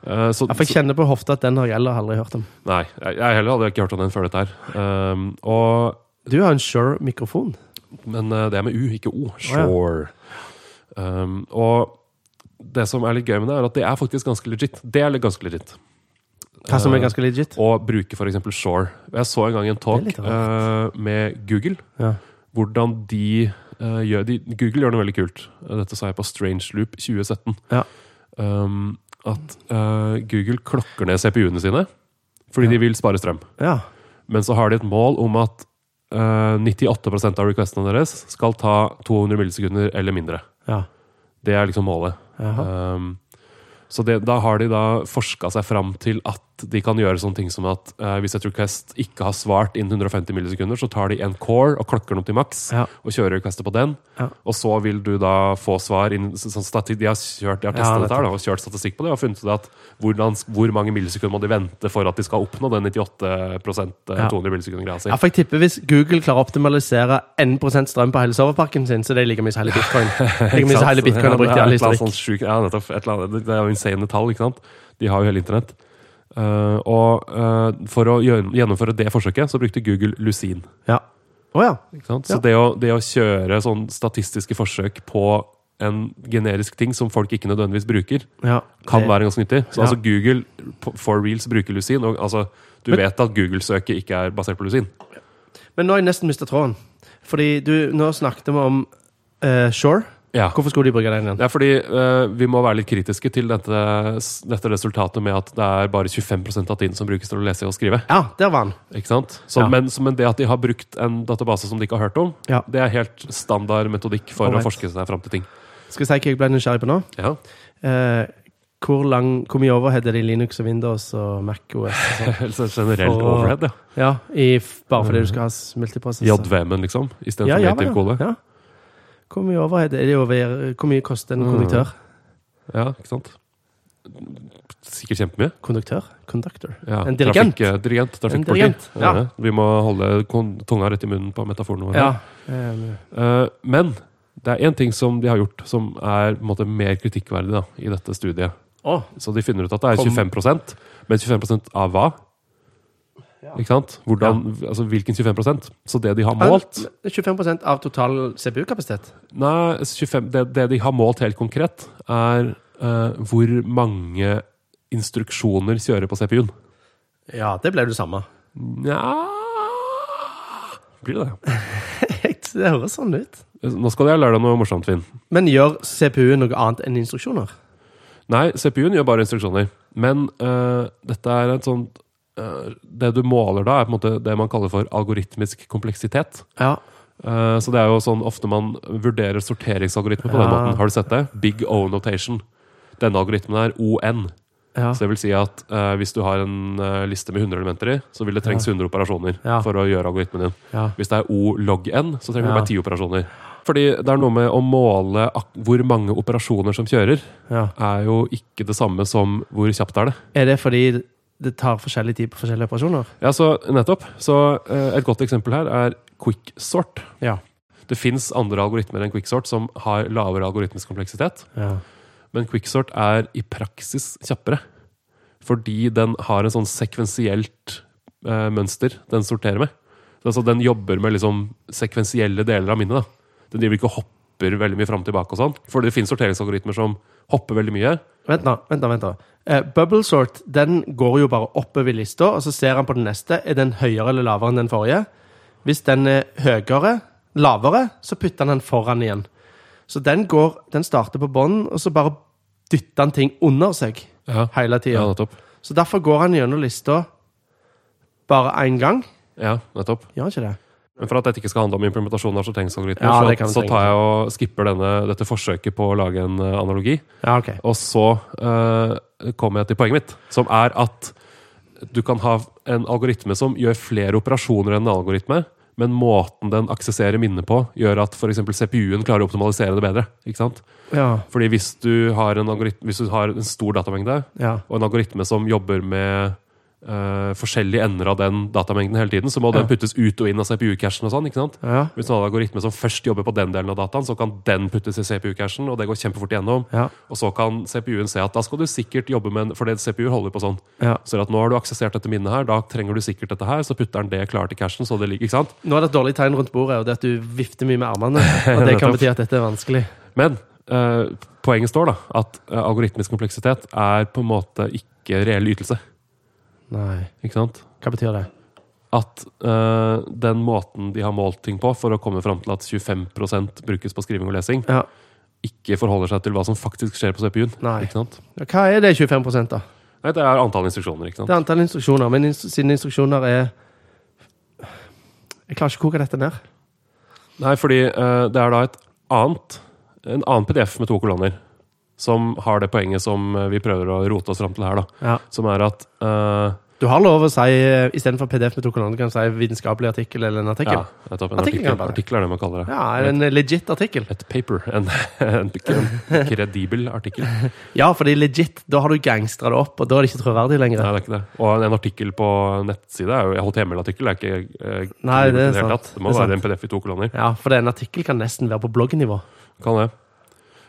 Speaker 1: Eh, Så,
Speaker 2: Ja, for jeg kjenner på hofta at den har jeg heller aldri hørt om.
Speaker 1: så- nei, jeg jeg heller hadde ikke hørt om den før dette her. Um, og,
Speaker 2: Du har en Shure-mikrofon.
Speaker 1: men eh, det er med U, ikke O. Shore. Um, og det som er litt gøy med det, er at det er faktisk ganske legit. Det er litt ganske legit.
Speaker 2: Hva som er ganske legit.
Speaker 1: Å bruke f.eks. Shore. Jeg så en gang en talk
Speaker 2: Det er litt
Speaker 1: eh, med Google.
Speaker 2: Ja.
Speaker 1: hvordan de eh, gjør de, Google gjør noe veldig kult. Eh, Dette sa jeg på Strange Loop 2017.
Speaker 2: Ja.
Speaker 1: Um, at eh, Google klokker ned CPU-ene sine fordi de vil spare strøm.
Speaker 2: ja.
Speaker 1: Men så har de et mål om at eh, 98 av requestene deres skal ta 200 millisekunder eller mindre.
Speaker 2: ja.
Speaker 1: Det er liksom målet.
Speaker 2: Jaha.
Speaker 1: Um, så det, da har de da forska seg fram til at de kan gjøre sånne ting som at eh, hvis et request ikke har svart innen 150 millisekunder, så tar de en core og klokker den opp til maks
Speaker 2: Ja.
Speaker 1: og kjører requestet på den.
Speaker 2: Ja.
Speaker 1: Og så vil du da få svar innen så- sånn statistikk. De har kjørt de har testet
Speaker 2: Ja,
Speaker 1: dette her da, og kjørt statistikk på det og funnet ut at hvordan, hvor mange millisekunder må de vente for at de skal oppnå den 98 eh,
Speaker 2: Ja.
Speaker 1: 200 millisekunder-greia si.
Speaker 2: Ja, for jeg tipper Hvis Google klarer å optimalisere 1 strøm på hele serverparken sin, så det er like mye som hele bitcoin. Like mye som hele bitcoin har brukt i
Speaker 1: Ja, det er
Speaker 2: all
Speaker 1: et eller annet
Speaker 2: historikk.
Speaker 1: sånt sjukt- ja, nettopp. Et eller annet, det er jo insane tall, ikke sant? De har jo hele internett. Eh, og eh, for å gjøre, gjennomføre det forsøket, så brukte Google Lucin.
Speaker 2: Ja. Å ja.
Speaker 1: Ikke sant?
Speaker 2: Ja.
Speaker 1: Så det å, det å kjøre sånn statistiske forsøk på en generisk ting som folk ikke nødvendigvis bruker,
Speaker 2: ja.
Speaker 1: kan
Speaker 2: det-
Speaker 1: være ganske nyttig. Så
Speaker 2: Ja.
Speaker 1: altså Google på- for reals bruker Lucin. Og altså, du
Speaker 2: Men-
Speaker 1: vet at Google-søket ikke er basert på Lucin.
Speaker 2: Men nå har jeg nesten mista tråden. Fordi du, nå snakket vi om eh, Shore.
Speaker 1: Ja.
Speaker 2: Hvorfor skulle de bruke den igjen?
Speaker 1: Det er fordi eh, vi må være litt kritiske til dette, dette resultatet med at det er bare 25 av tiden som brukes til å lese og skrive.
Speaker 2: Ja, der var den.
Speaker 1: Ikke sant? Så,
Speaker 2: Ja.
Speaker 1: men, så, men det at de har brukt en database som de ikke har hørt om,
Speaker 2: Ja.
Speaker 1: det er helt standard metodikk for
Speaker 2: Alright.
Speaker 1: å forske seg fram til ting.
Speaker 2: Skal jeg si hva jeg ble nysgjerrig på nå?
Speaker 1: Ja.
Speaker 2: Eh, hvor, lang, hvor mye overhead er det i Linux og Windows og Mac OS? og sånt?
Speaker 1: Så generell
Speaker 2: Og-
Speaker 1: overhead, ja.
Speaker 2: Ja, i, f- bare fordi du skal ha s- multiprosessor.
Speaker 1: JVM-en, liksom, istedenfor
Speaker 2: Ja,
Speaker 1: ja,
Speaker 2: ja,
Speaker 1: native
Speaker 2: ja,
Speaker 1: code. Ja.
Speaker 2: ja. Hvor mye overhead er det over, Hvor mye koster en
Speaker 1: Mm.
Speaker 2: konduktør?
Speaker 1: ikke sant? Sikkert kjempemye.
Speaker 2: Konduktør? Conductor.
Speaker 1: Ja.
Speaker 2: En dirigent.
Speaker 1: Trafikk, eh, dirigent, trafikkpoliti.
Speaker 2: dirigent, ja.
Speaker 1: Ja. Vi må holde kon- tunga rett i munnen på metaforene våre.
Speaker 2: Ja. Ehm,
Speaker 1: Eh, men det er én ting som de har gjort som er på en måte, mer kritikkverdig da, i dette studiet.
Speaker 2: Å,
Speaker 1: Så de finner ut at det er
Speaker 2: Kom.
Speaker 1: 25 men 25 av hva? Ikke sant? Hvordan, altså, hvilken 25 Så det de har målt
Speaker 2: Men 25 av total CPU-kapasitet.
Speaker 1: Nei, 25, det, det de har målt helt konkret, er eh, hvor mange instruksjoner kjører på CPU-en.
Speaker 2: Ja, det ble det samme.
Speaker 1: Nja Blir det det?
Speaker 2: det høres sånn ut.
Speaker 1: Nå skal jeg lære deg noe morsomt, Finn.
Speaker 2: Men gjør CPU-en noe annet enn instruksjoner?
Speaker 1: Nei, CPU-en gjør bare instruksjoner. Men eh, dette er et sånt eh, Det du måler da, er på en måte det man kaller for algoritmisk kompleksitet.
Speaker 2: Ja.
Speaker 1: Eh, så det er jo sånn ofte man vurderer sorteringsalgoritmer på den
Speaker 2: Ja.
Speaker 1: måten. Har du sett det? Big O-notation. Denne algoritmen er ON.
Speaker 2: Ja.
Speaker 1: Så det vil si at eh, hvis du har en eh, liste med 100 elementer i, så vil det trengs 100 operasjoner
Speaker 2: Ja.
Speaker 1: for å gjøre algoritmen din.
Speaker 2: ja.
Speaker 1: Hvis det er O log N, så trenger du
Speaker 2: Ja.
Speaker 1: bare 10 operasjoner. Fordi det er noe med å måle ak hvor mange operasjoner som kjører,
Speaker 2: ja.
Speaker 1: er jo ikke det samme som hvor kjapt er det.
Speaker 2: Er det fordi det tar forskjellig tid på forskjellige operasjoner?
Speaker 1: Ja, så nettopp. Så eh, et godt eksempel her er quicksort.
Speaker 2: Ja.
Speaker 1: Det fins andre algoritmer enn quicksort som har lavere algoritmisk kompleksitet.
Speaker 2: ja.
Speaker 1: Men quicksort er i praksis kjappere. Fordi den har en sånn sekvensielt eh, mønster den sorterer med. Så altså, den jobber med liksom sekvensielle deler av minnet. da. Den driver ikke og hopper veldig mye fram og tilbake. og sånn. Fordi det finnes sorteringsalgoritmer som hopper veldig mye.
Speaker 2: Vent nå, vent nå. vent nå. Eh, Bubble sort den går jo bare oppover i lista, og så ser han på den neste. Er den høyere eller lavere enn den forrige? Hvis den er høyere, lavere, så putter han den foran igjen. Så den går, den starter på bånn, og så bare dytter han ting under seg
Speaker 1: Ja,
Speaker 2: hele
Speaker 1: ja
Speaker 2: tida.
Speaker 1: nettopp.
Speaker 2: Så derfor går han gjennom lista bare én gang.
Speaker 1: Ja, nettopp.
Speaker 2: Gjør han ikke det?
Speaker 1: Men for at dette ikke skal handle om implementasjon av sorteringsalgoritmer,
Speaker 2: Ja, det
Speaker 1: så,
Speaker 2: kan vi
Speaker 1: så
Speaker 2: tenke
Speaker 1: tar jeg og skipper denne, dette forsøket på å lage en eh, analogi.
Speaker 2: Ja, ok.
Speaker 1: Og så eh, kommer jeg til poenget mitt, som er at du kan ha en algoritme som gjør flere operasjoner enn en algoritme, men måten den aksesserer minnet på, gjør at f.eks. CPU-en klarer å optimalisere det bedre. ikke sant?
Speaker 2: Ja,
Speaker 1: Fordi hvis du har en, algoritme, hvis du har en stor datamengde,
Speaker 2: ja.
Speaker 1: og en algoritme som jobber med eh, forskjellige ender av den datamengden hele tiden, så må den
Speaker 2: Ja.
Speaker 1: puttes ut og inn av CPU-cashen og sånn. ikke sant?
Speaker 2: Ja,
Speaker 1: Hvis du har en algoritme som først jobber på den delen av dataen, så kan den puttes i CPU-cashen, og det går kjempefort igjennom.
Speaker 2: ja,
Speaker 1: Og så kan CPU-en se at da skal du sikkert jobbe med en, For det CPU holder på sånn.
Speaker 2: ja.
Speaker 1: Så at nå har du aksessert dette minnet her, da trenger du sikkert dette her. Så putter den det klart i cashen, så det ligger Ikke sant?
Speaker 2: Nå er det et dårlig tegn rundt bordet, og det er at du vifter mye med armene. Og det
Speaker 1: Nettopp.
Speaker 2: kan bety at dette er vanskelig.
Speaker 1: Men eh, poenget står, da, at eh, algoritmisk kompleksitet er på en måte ikke reell ytelse.
Speaker 2: Nei.
Speaker 1: Ikke sant?
Speaker 2: Hva betyr det?
Speaker 1: At eh, den måten de har målt ting på for å komme fram til at 25 brukes på skriving og lesing,
Speaker 2: Ja.
Speaker 1: ikke forholder seg til hva som faktisk skjer på CPU-en.
Speaker 2: Nei.
Speaker 1: Ikke sant?
Speaker 2: Hva er det 25 da?
Speaker 1: Nei, det er antall instruksjoner, ikke sant?
Speaker 2: Det er antall instruksjoner, men instru siden instruksjoner er Jeg klarer ikke å koke dette ned.
Speaker 1: Nei, fordi eh, det er da et annet, en annen PDF med to kolonner som har det poenget som eh, vi prøver å rote oss fram til her, da.
Speaker 2: Ja.
Speaker 1: Som er at eh,
Speaker 2: Du har lov å si eh, istedenfor PDF med to kolonner, kan du si vitenskapelig artikkel eller en
Speaker 1: ja,
Speaker 2: artikkel.
Speaker 1: nettopp, en
Speaker 2: Artikkel
Speaker 1: artikkel,
Speaker 2: kan det være.
Speaker 1: artikkel er det man kaller det.
Speaker 2: Ja, er det en legit artikkel?
Speaker 1: Et paper. En, en, en kredibel artikkel. Nei,
Speaker 2: Ja, fordi legit, da har du gangstra det opp, og da er det ikke troverdig lenger.
Speaker 1: det er ikke det. Og en, en artikkel på nettside er jo HTML-artikkel. er ikke eh,
Speaker 2: Nei, det
Speaker 1: kredibelt i
Speaker 2: er
Speaker 1: hele
Speaker 2: sant.
Speaker 1: tatt. Det må
Speaker 2: Det er
Speaker 1: være en PDF i to kolonner.
Speaker 2: Ja, for det er en artikkel kan nesten være på bloggnivå.
Speaker 1: Kan det.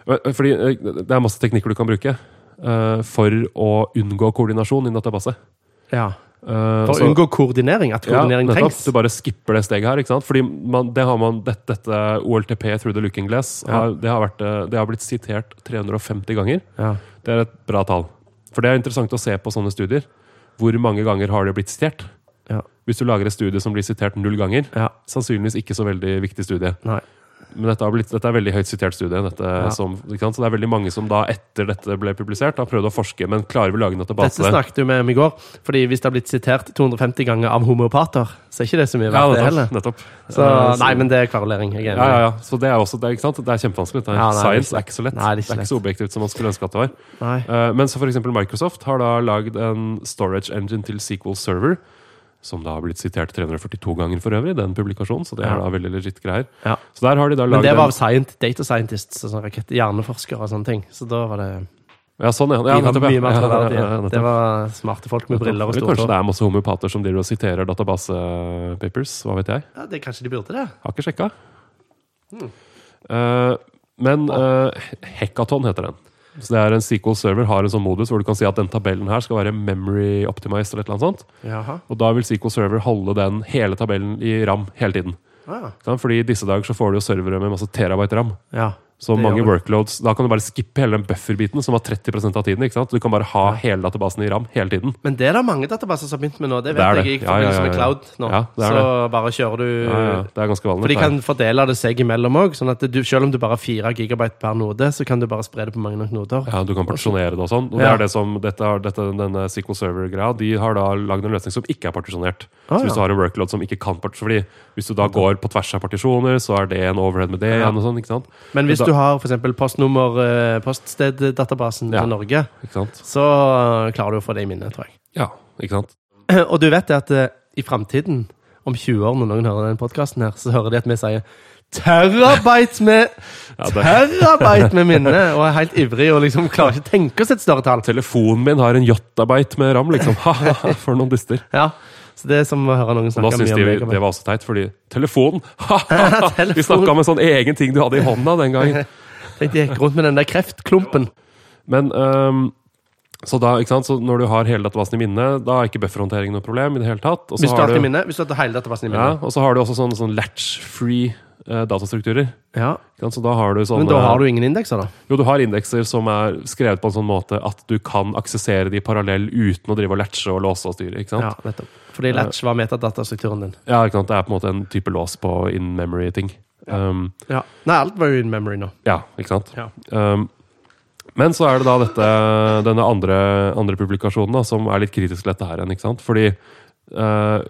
Speaker 1: Men, Fordi eh, det er masse teknikker du kan bruke eh, for å unngå koordinasjon i en database.
Speaker 2: Ja. Altså-
Speaker 1: Eh,
Speaker 2: For å
Speaker 1: så-
Speaker 2: unngå koordinering, at koordinering
Speaker 1: ja, nettopp.
Speaker 2: trengs.
Speaker 1: Du bare skipper det steget her. ikke sant? Fordi man, det har man, dette, dette OLTP through the looking glass har, det, har vært, eh, det har blitt sitert 350 ganger.
Speaker 2: Ja.
Speaker 1: Det er et bra tall. For det er interessant å se på sånne studier. Hvor mange ganger har det blitt sitert?
Speaker 2: Ja.
Speaker 1: Hvis du lager et studie som blir sitert null ganger,
Speaker 2: ja.
Speaker 1: sannsynligvis ikke så veldig viktig studie.
Speaker 2: Nei.
Speaker 1: Men dette, har blitt, dette er veldig høyt sitert studie. Dette,
Speaker 2: Ja.
Speaker 1: som, ikke sant? Så det er veldig mange som da etter dette ble publisert, har prøvd å forske, men klarer vi å lage en database?
Speaker 2: Dette snakket du med om i går. Fordi hvis det har blitt sitert 250 ganger av homeopater, så er ikke det så mye
Speaker 1: ja,
Speaker 2: verdt, det heller.
Speaker 1: nettopp. nettopp.
Speaker 2: Så,
Speaker 1: Eh,
Speaker 2: nei, men det er kverulering. Jeg er enig.
Speaker 1: Ja, ja, ja. Så det er også, det er, ikke sant? Det er kjempevanskelig. Det er,
Speaker 2: Ja, nei,
Speaker 1: science
Speaker 2: det er
Speaker 1: er ikke så lett.
Speaker 2: Nei,
Speaker 1: det, er
Speaker 2: det er ikke
Speaker 1: ikke så objektivt som man skulle ønske at det var.
Speaker 2: Nei.
Speaker 1: Eh, men så for eksempel Microsoft har da lagd en storage engine til SQL Server, som da har blitt sitert 342 ganger for øvrig, den publikasjonen, så det er
Speaker 2: Ja.
Speaker 1: da veldig legit greier.
Speaker 2: Ja.
Speaker 1: Så der har de da
Speaker 2: Men
Speaker 1: lagd
Speaker 2: det var
Speaker 1: en-
Speaker 2: av scient, data scientists, og sånn rakett, hjerneforskere og sånne ting. Så da var det
Speaker 1: Ja, sånn, ja.
Speaker 2: de
Speaker 1: ja,
Speaker 2: var
Speaker 1: nettopp, ja.
Speaker 2: mye mer
Speaker 1: Ja, ja, ja,
Speaker 2: troverdige.
Speaker 1: ja, nettopp.
Speaker 2: Det var smarte folk med briller og
Speaker 1: Eller Kanskje
Speaker 2: stortå.
Speaker 1: det er masse homeopater som driver og siterer databasepapers, hva vet jeg.
Speaker 2: Ja, det kanskje de burde det.
Speaker 1: Har ikke sjekka. Eh, men eh, Hekaton heter den. Så det er en SQL server har en sånn modus hvor du kan si at den tabellen her skal være memory optimized. eller et eller annet sånt.
Speaker 2: Jaha.
Speaker 1: Og da vil SQL server holde den hele tabellen i ram hele tiden.
Speaker 2: Ah,
Speaker 1: Ikke sant? Fordi i disse dager så får du jo servere med masse terabyte ram.
Speaker 2: ja.
Speaker 1: Så
Speaker 2: Det
Speaker 1: mange
Speaker 2: gjør det.
Speaker 1: workloads, Da kan du bare skippe hele den bufferbiten, som var 30 av tiden. ikke sant? Du kan bare ha hele databasen i ram hele tiden.
Speaker 2: Men det er det mange databaser som har begynt med nå. Det
Speaker 1: Det
Speaker 2: vet
Speaker 1: er det.
Speaker 2: jeg i
Speaker 1: Ja, ja, ja,
Speaker 2: forbindelse med
Speaker 1: ja.
Speaker 2: cloud nå.
Speaker 1: Ja, det er
Speaker 2: så bare kjører du
Speaker 1: Ja, ja, Eh, det er ganske vanlig.
Speaker 2: For de kan fordele det seg imellom òg. Sånn at du, selv om du bare har 4 gigabyte per node, så kan du bare spre det på mange nok noder.
Speaker 1: Ja, Du kan partisjonere det og sånn. Og det
Speaker 2: Ja.
Speaker 1: er det som, dette, har- dette, denne SQL Server-greia De har da lagd en løsning som ikke er partisjonert.
Speaker 2: Ah,
Speaker 1: så
Speaker 2: ja.
Speaker 1: Hvis du har en workload som ikke kan partisjon Fordi hvis du da går på tvers av partisjoner, så er det en overhead med det
Speaker 2: Ja.
Speaker 1: igjen og sånn. Ikke sant?
Speaker 2: Men hvis
Speaker 1: Da-
Speaker 2: du har f.eks. postnummer, eh, poststeddatabasen
Speaker 1: Ja.
Speaker 2: til Norge,
Speaker 1: Ikke sant?
Speaker 2: så klarer du å få det i minnet, tror jeg.
Speaker 1: Ja, ikke sant?
Speaker 2: Og du vet det at eh, i framtiden, om 20 år, når noen hører den podkasten her, så hører de at vi sier terabyte med
Speaker 1: Ja, det,
Speaker 2: Terabyte med minne! Og er helt ivrig og liksom klarer ikke å tenke oss et større tall.
Speaker 1: telefonen min har en jottabyte med ram, liksom. Ha-ha, for noen dyster.
Speaker 2: Ja, så det er som å høre noen
Speaker 1: Og da
Speaker 2: snakke
Speaker 1: syns
Speaker 2: mye
Speaker 1: de
Speaker 2: om
Speaker 1: det
Speaker 2: megabyte.
Speaker 1: var også teit, fordi telefonen Ha-ha! Vi
Speaker 2: Telefon.
Speaker 1: snakka om en sånn egen ting du hadde i hånda den gangen.
Speaker 2: Tenk, de gikk rundt med den der kreftklumpen.
Speaker 1: Men ehm, så da, ikke sant, så når du har hele databasen i minnet, da er ikke bufferhåndtering noe problem. i det hele tatt. Og så
Speaker 2: Hvis du
Speaker 1: har
Speaker 2: har
Speaker 1: du,
Speaker 2: det i minne, hvis du har hele databasen i
Speaker 1: ja,
Speaker 2: minne.
Speaker 1: og så har du også sånne, sånn latch-free eh, datastrukturer.
Speaker 2: Ja.
Speaker 1: Ikke sant? Så da har du sånne,
Speaker 2: Men da har du ingen indekser, da.
Speaker 1: Jo, du har indekser som er skrevet på en sånn måte at du kan aksessere de parallell uten å drive og latche og låse og styre. ikke
Speaker 2: Ja,
Speaker 1: sant?
Speaker 2: nettopp. Fordi latch var metadatastrukturen din.
Speaker 1: Ja, ikke sant? Det er på en måte en type lås på in memory-ting. Um,
Speaker 2: Ja. Nei, alt var jo in memory nå.
Speaker 1: ja, ikke sant?
Speaker 2: Ja.
Speaker 1: Um, men så er det da dette, denne andre, andre publikasjonen da, som er litt kritisk til dette her igjen. ikke sant? Fordi eh,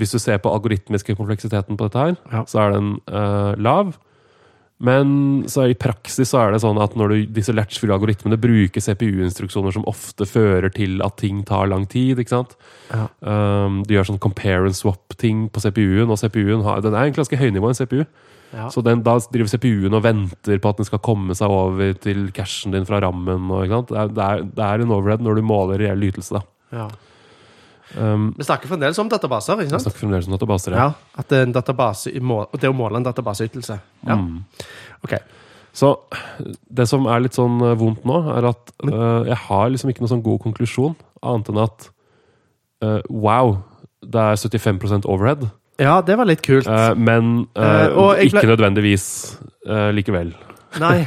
Speaker 1: hvis du ser på algoritmiske kompleksiteten på dette her,
Speaker 2: Ja.
Speaker 1: så er den eh, lav. Men så er, i praksis så er det sånn at når du, disse latchfulle algoritmene bruker CPU-instruksjoner som ofte fører til at ting tar lang tid, ikke sant?
Speaker 2: Ja.
Speaker 1: Um, de gjør sånn compare and swap-ting på CPU-en, og CPU-en har, den er egentlig ganske høynivå enn CPU.
Speaker 2: Ja.
Speaker 1: Så den, da driver CPU-en og venter på at den skal komme seg over til cashen din fra rammen. Og, ikke sant? Det, er, det, er, det er en overhead når du måler reell ytelse. Da.
Speaker 2: Ja.
Speaker 1: Um,
Speaker 2: Vi snakker fremdeles om databaser, ikke
Speaker 1: jeg
Speaker 2: sant?
Speaker 1: snakker fremdeles om databaser. Ja.
Speaker 2: Ja, at en database, i må- og det å måle en databaseytelse. Ja.
Speaker 1: Mm.
Speaker 2: Ok.
Speaker 1: Så det som er litt sånn eh, vondt nå, er at
Speaker 2: Mm.
Speaker 1: eh, jeg har liksom ikke noen sånn god konklusjon, annet enn at eh, wow, det er 75 overhead,
Speaker 2: Ja, det var litt kult.
Speaker 1: eh, men eh,
Speaker 2: Eh, og jeg
Speaker 1: ikke
Speaker 2: ble-
Speaker 1: nødvendigvis eh, likevel.
Speaker 2: Nei.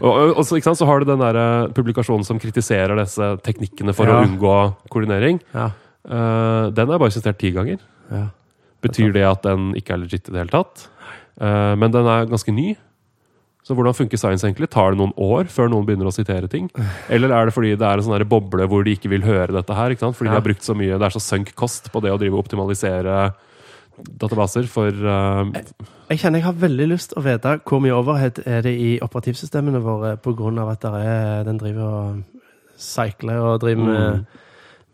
Speaker 1: Og, og, og så, ikke sant, så har du den der eh, publikasjonen som kritiserer disse teknikkene for
Speaker 2: Ja.
Speaker 1: å unngå koordinering.
Speaker 2: Ja.
Speaker 1: Eh, den er bare sitert ti ganger.
Speaker 2: ja.
Speaker 1: Betyr det at den ikke er legit i det hele tatt? Eh, men den er ganske ny. Så hvordan funker science egentlig? Tar det noen år før noen begynner å sitere ting? Eller er det fordi det er en sånn der boble hvor de ikke vil høre dette her? Ikke sant? Fordi
Speaker 2: Ja.
Speaker 1: de har brukt så mye, det er så sunk kost på det å drive og optimalisere databaser for eh,
Speaker 2: Jeg kjenner jeg har veldig lyst til å vite hvor mye overhead er det i operativsystemene våre pga. at der er, den driver og cycler og driver med,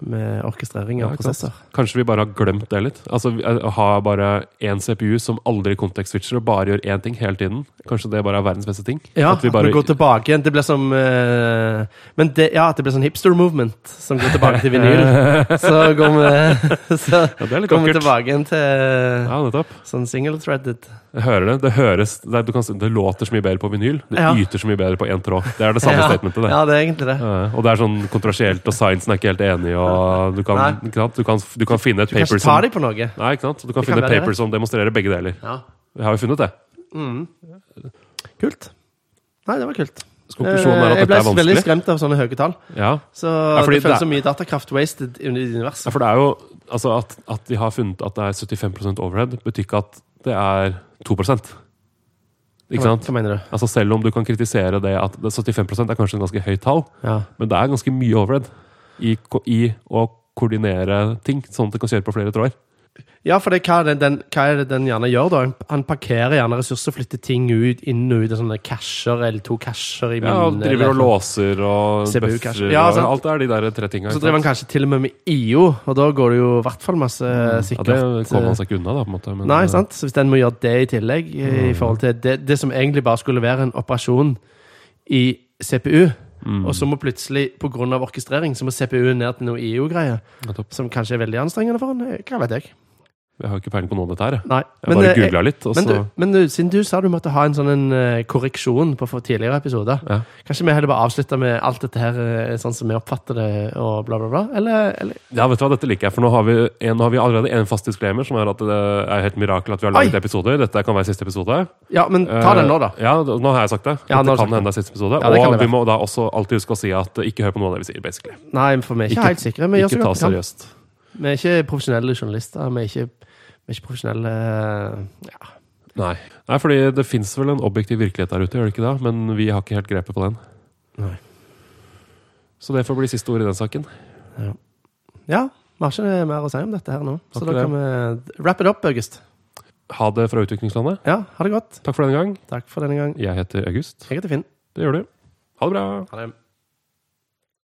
Speaker 2: med orkestrering
Speaker 1: Mm. Ja,
Speaker 2: av
Speaker 1: ikke sant.
Speaker 2: prosesser.
Speaker 1: Kanskje vi bare har glemt det litt? Altså vi- eh, Ha bare én CPU som aldri kontekstswitcher og bare gjør én ting hele tiden? Kanskje det bare er verdens beste ting?
Speaker 2: Ja,
Speaker 1: At vi bare-
Speaker 2: går tilbake igjen. Det blir som eh, Men det, ja, at det blir sånn hipster movement som går tilbake til vinyl. Så går vi, så
Speaker 1: Ja, det er litt
Speaker 2: går vi
Speaker 1: vakkert.
Speaker 2: tilbake igjen til
Speaker 1: Ja, nettopp.
Speaker 2: sånn single-threaded.
Speaker 1: Jeg hører det. Det høres det, er- du kan, si- det låter så mye bedre på vinyl. Det
Speaker 2: Ja.
Speaker 1: yter så mye bedre på én tråd. Det er det samme
Speaker 2: ja,
Speaker 1: statementet, det.
Speaker 2: Ja, det er egentlig det.
Speaker 1: Eh, Og det er sånn kontrasielt, og science er ikke helt enig, og du kan,
Speaker 2: Nei.
Speaker 1: ikke sant? Du kan, du kan finne et
Speaker 2: Du kan
Speaker 1: paper
Speaker 2: ikke ta
Speaker 1: som
Speaker 2: dem på noe.
Speaker 1: Nei, ikke sant? Du kan
Speaker 2: Det kan
Speaker 1: finne et
Speaker 2: være
Speaker 1: paper
Speaker 2: det.
Speaker 1: som demonstrerer begge deler.
Speaker 2: Ja.
Speaker 1: Vi har jo funnet det.
Speaker 2: Mm. Kult. Nei, det var kult.
Speaker 1: Så konklusjonen er
Speaker 2: Eh,
Speaker 1: at dette
Speaker 2: jeg ble
Speaker 1: er
Speaker 2: veldig
Speaker 1: vanskelig.
Speaker 2: skremt av sånne høye tall.
Speaker 1: Ja.
Speaker 2: Så
Speaker 1: fordi
Speaker 2: det føles
Speaker 1: det-
Speaker 2: så mye datakraft wasted i universet.
Speaker 1: Ja, for det er jo altså at, at de har funnet at det er 75 overhead, betyr ikke at det er 2 Ikke sant?
Speaker 2: Hva mener du?
Speaker 1: Altså Selv om du kan kritisere det at det- 75 er kanskje en ganske høyt tall,
Speaker 2: Ja.
Speaker 1: men det er ganske mye overhead i, ko- i å koordinere ting, sånn at det kan kjøre på flere tråder.
Speaker 2: ja, for det, hva, er det den, hva er det den gjerne gjør, da? Han parkerer gjerne ressurser, flytter ting ut, inn og ut av sånne casher eller to casher i eh,
Speaker 1: Ja, og
Speaker 2: minnet,
Speaker 1: driver og
Speaker 2: eller- sånn
Speaker 1: låser og
Speaker 2: CPU
Speaker 1: bøffer
Speaker 2: kanskje. Ja,
Speaker 1: og
Speaker 2: sant.
Speaker 1: alt det er de der tre tinga.
Speaker 2: Så driver han kanskje til og med med IO, og da går det jo i hvert fall masse
Speaker 1: ja,
Speaker 2: sikkert
Speaker 1: Det kommer
Speaker 2: eh,
Speaker 1: man seg ikke unna, da. på en måte. Men, eh,
Speaker 2: Nei, sant? Så hvis den må gjøre det i tillegg, eh,
Speaker 1: Mm.
Speaker 2: i forhold til det, det som egentlig bare skulle være en operasjon i CPU,
Speaker 1: mm.
Speaker 2: og så må plutselig, pga. orkestrering, så må CPU ned til noe IO-greie,
Speaker 1: Nettopp.
Speaker 2: som kanskje er veldig anstrengende for den. Hva eh, vet jeg.
Speaker 1: Jeg har jo ikke peiling på noe av dette her. jeg.
Speaker 2: Nei.
Speaker 1: Jeg bare
Speaker 2: eh, jeg-
Speaker 1: googla litt, og
Speaker 2: men,
Speaker 1: så
Speaker 2: du, men du, siden du sa du måtte ha en sånn en eh, korreksjon på for tidligere episoder,
Speaker 1: Ja.
Speaker 2: kanskje vi heller bare avslutter med alt dette her eh, sånn som vi oppfatter det, og bla, bla, bla? Eller, eller
Speaker 1: Ja, vet du hva, dette liker jeg, for nå har vi, en, nå har vi allerede en fast disclaimer, som er at det er helt mirakel at vi har laget
Speaker 2: Oi!
Speaker 1: episoder. Dette kan være siste episode.
Speaker 2: Ja, men ta den nå, da.
Speaker 1: Eh, Ja, nå har jeg sagt det. Dette
Speaker 2: Ja, nå har du
Speaker 1: kan
Speaker 2: sagt
Speaker 1: hende er siste episode.
Speaker 2: Ja, det kan
Speaker 1: og
Speaker 2: det
Speaker 1: vi
Speaker 2: være.
Speaker 1: må da også alltid huske å si at eh, ikke hør på noe av det vi sier, basically.
Speaker 2: Nei, for vi er ikke,
Speaker 1: Ikke-
Speaker 2: helt sikre. Vi gjør
Speaker 1: ikke
Speaker 2: så
Speaker 1: ta
Speaker 2: godt vi kan.
Speaker 1: seriøst.
Speaker 2: Vi er ikke profesjonelle journalister. Vi er ikke, vi er ikke profesjonelle eh, ja.
Speaker 1: Nei. Nei, fordi det fins vel en objektiv virkelighet der ute, gjør det ikke det? Men vi har ikke helt grepet på den.
Speaker 2: Nei.
Speaker 1: Så det får bli siste ord i den saken.
Speaker 2: ja. Vi har ikke mer å si om dette her nå. Så
Speaker 1: Har
Speaker 2: da
Speaker 1: ikke
Speaker 2: kan vi wrap it up, August.
Speaker 1: Ha det fra utviklingslandet.
Speaker 2: Ja, ha det godt.
Speaker 1: Takk for denne gang.
Speaker 2: Takk for denne gang.
Speaker 1: Jeg heter August.
Speaker 2: Jeg heter Finn.
Speaker 1: Det gjør du. Ha det bra.
Speaker 2: Ha det.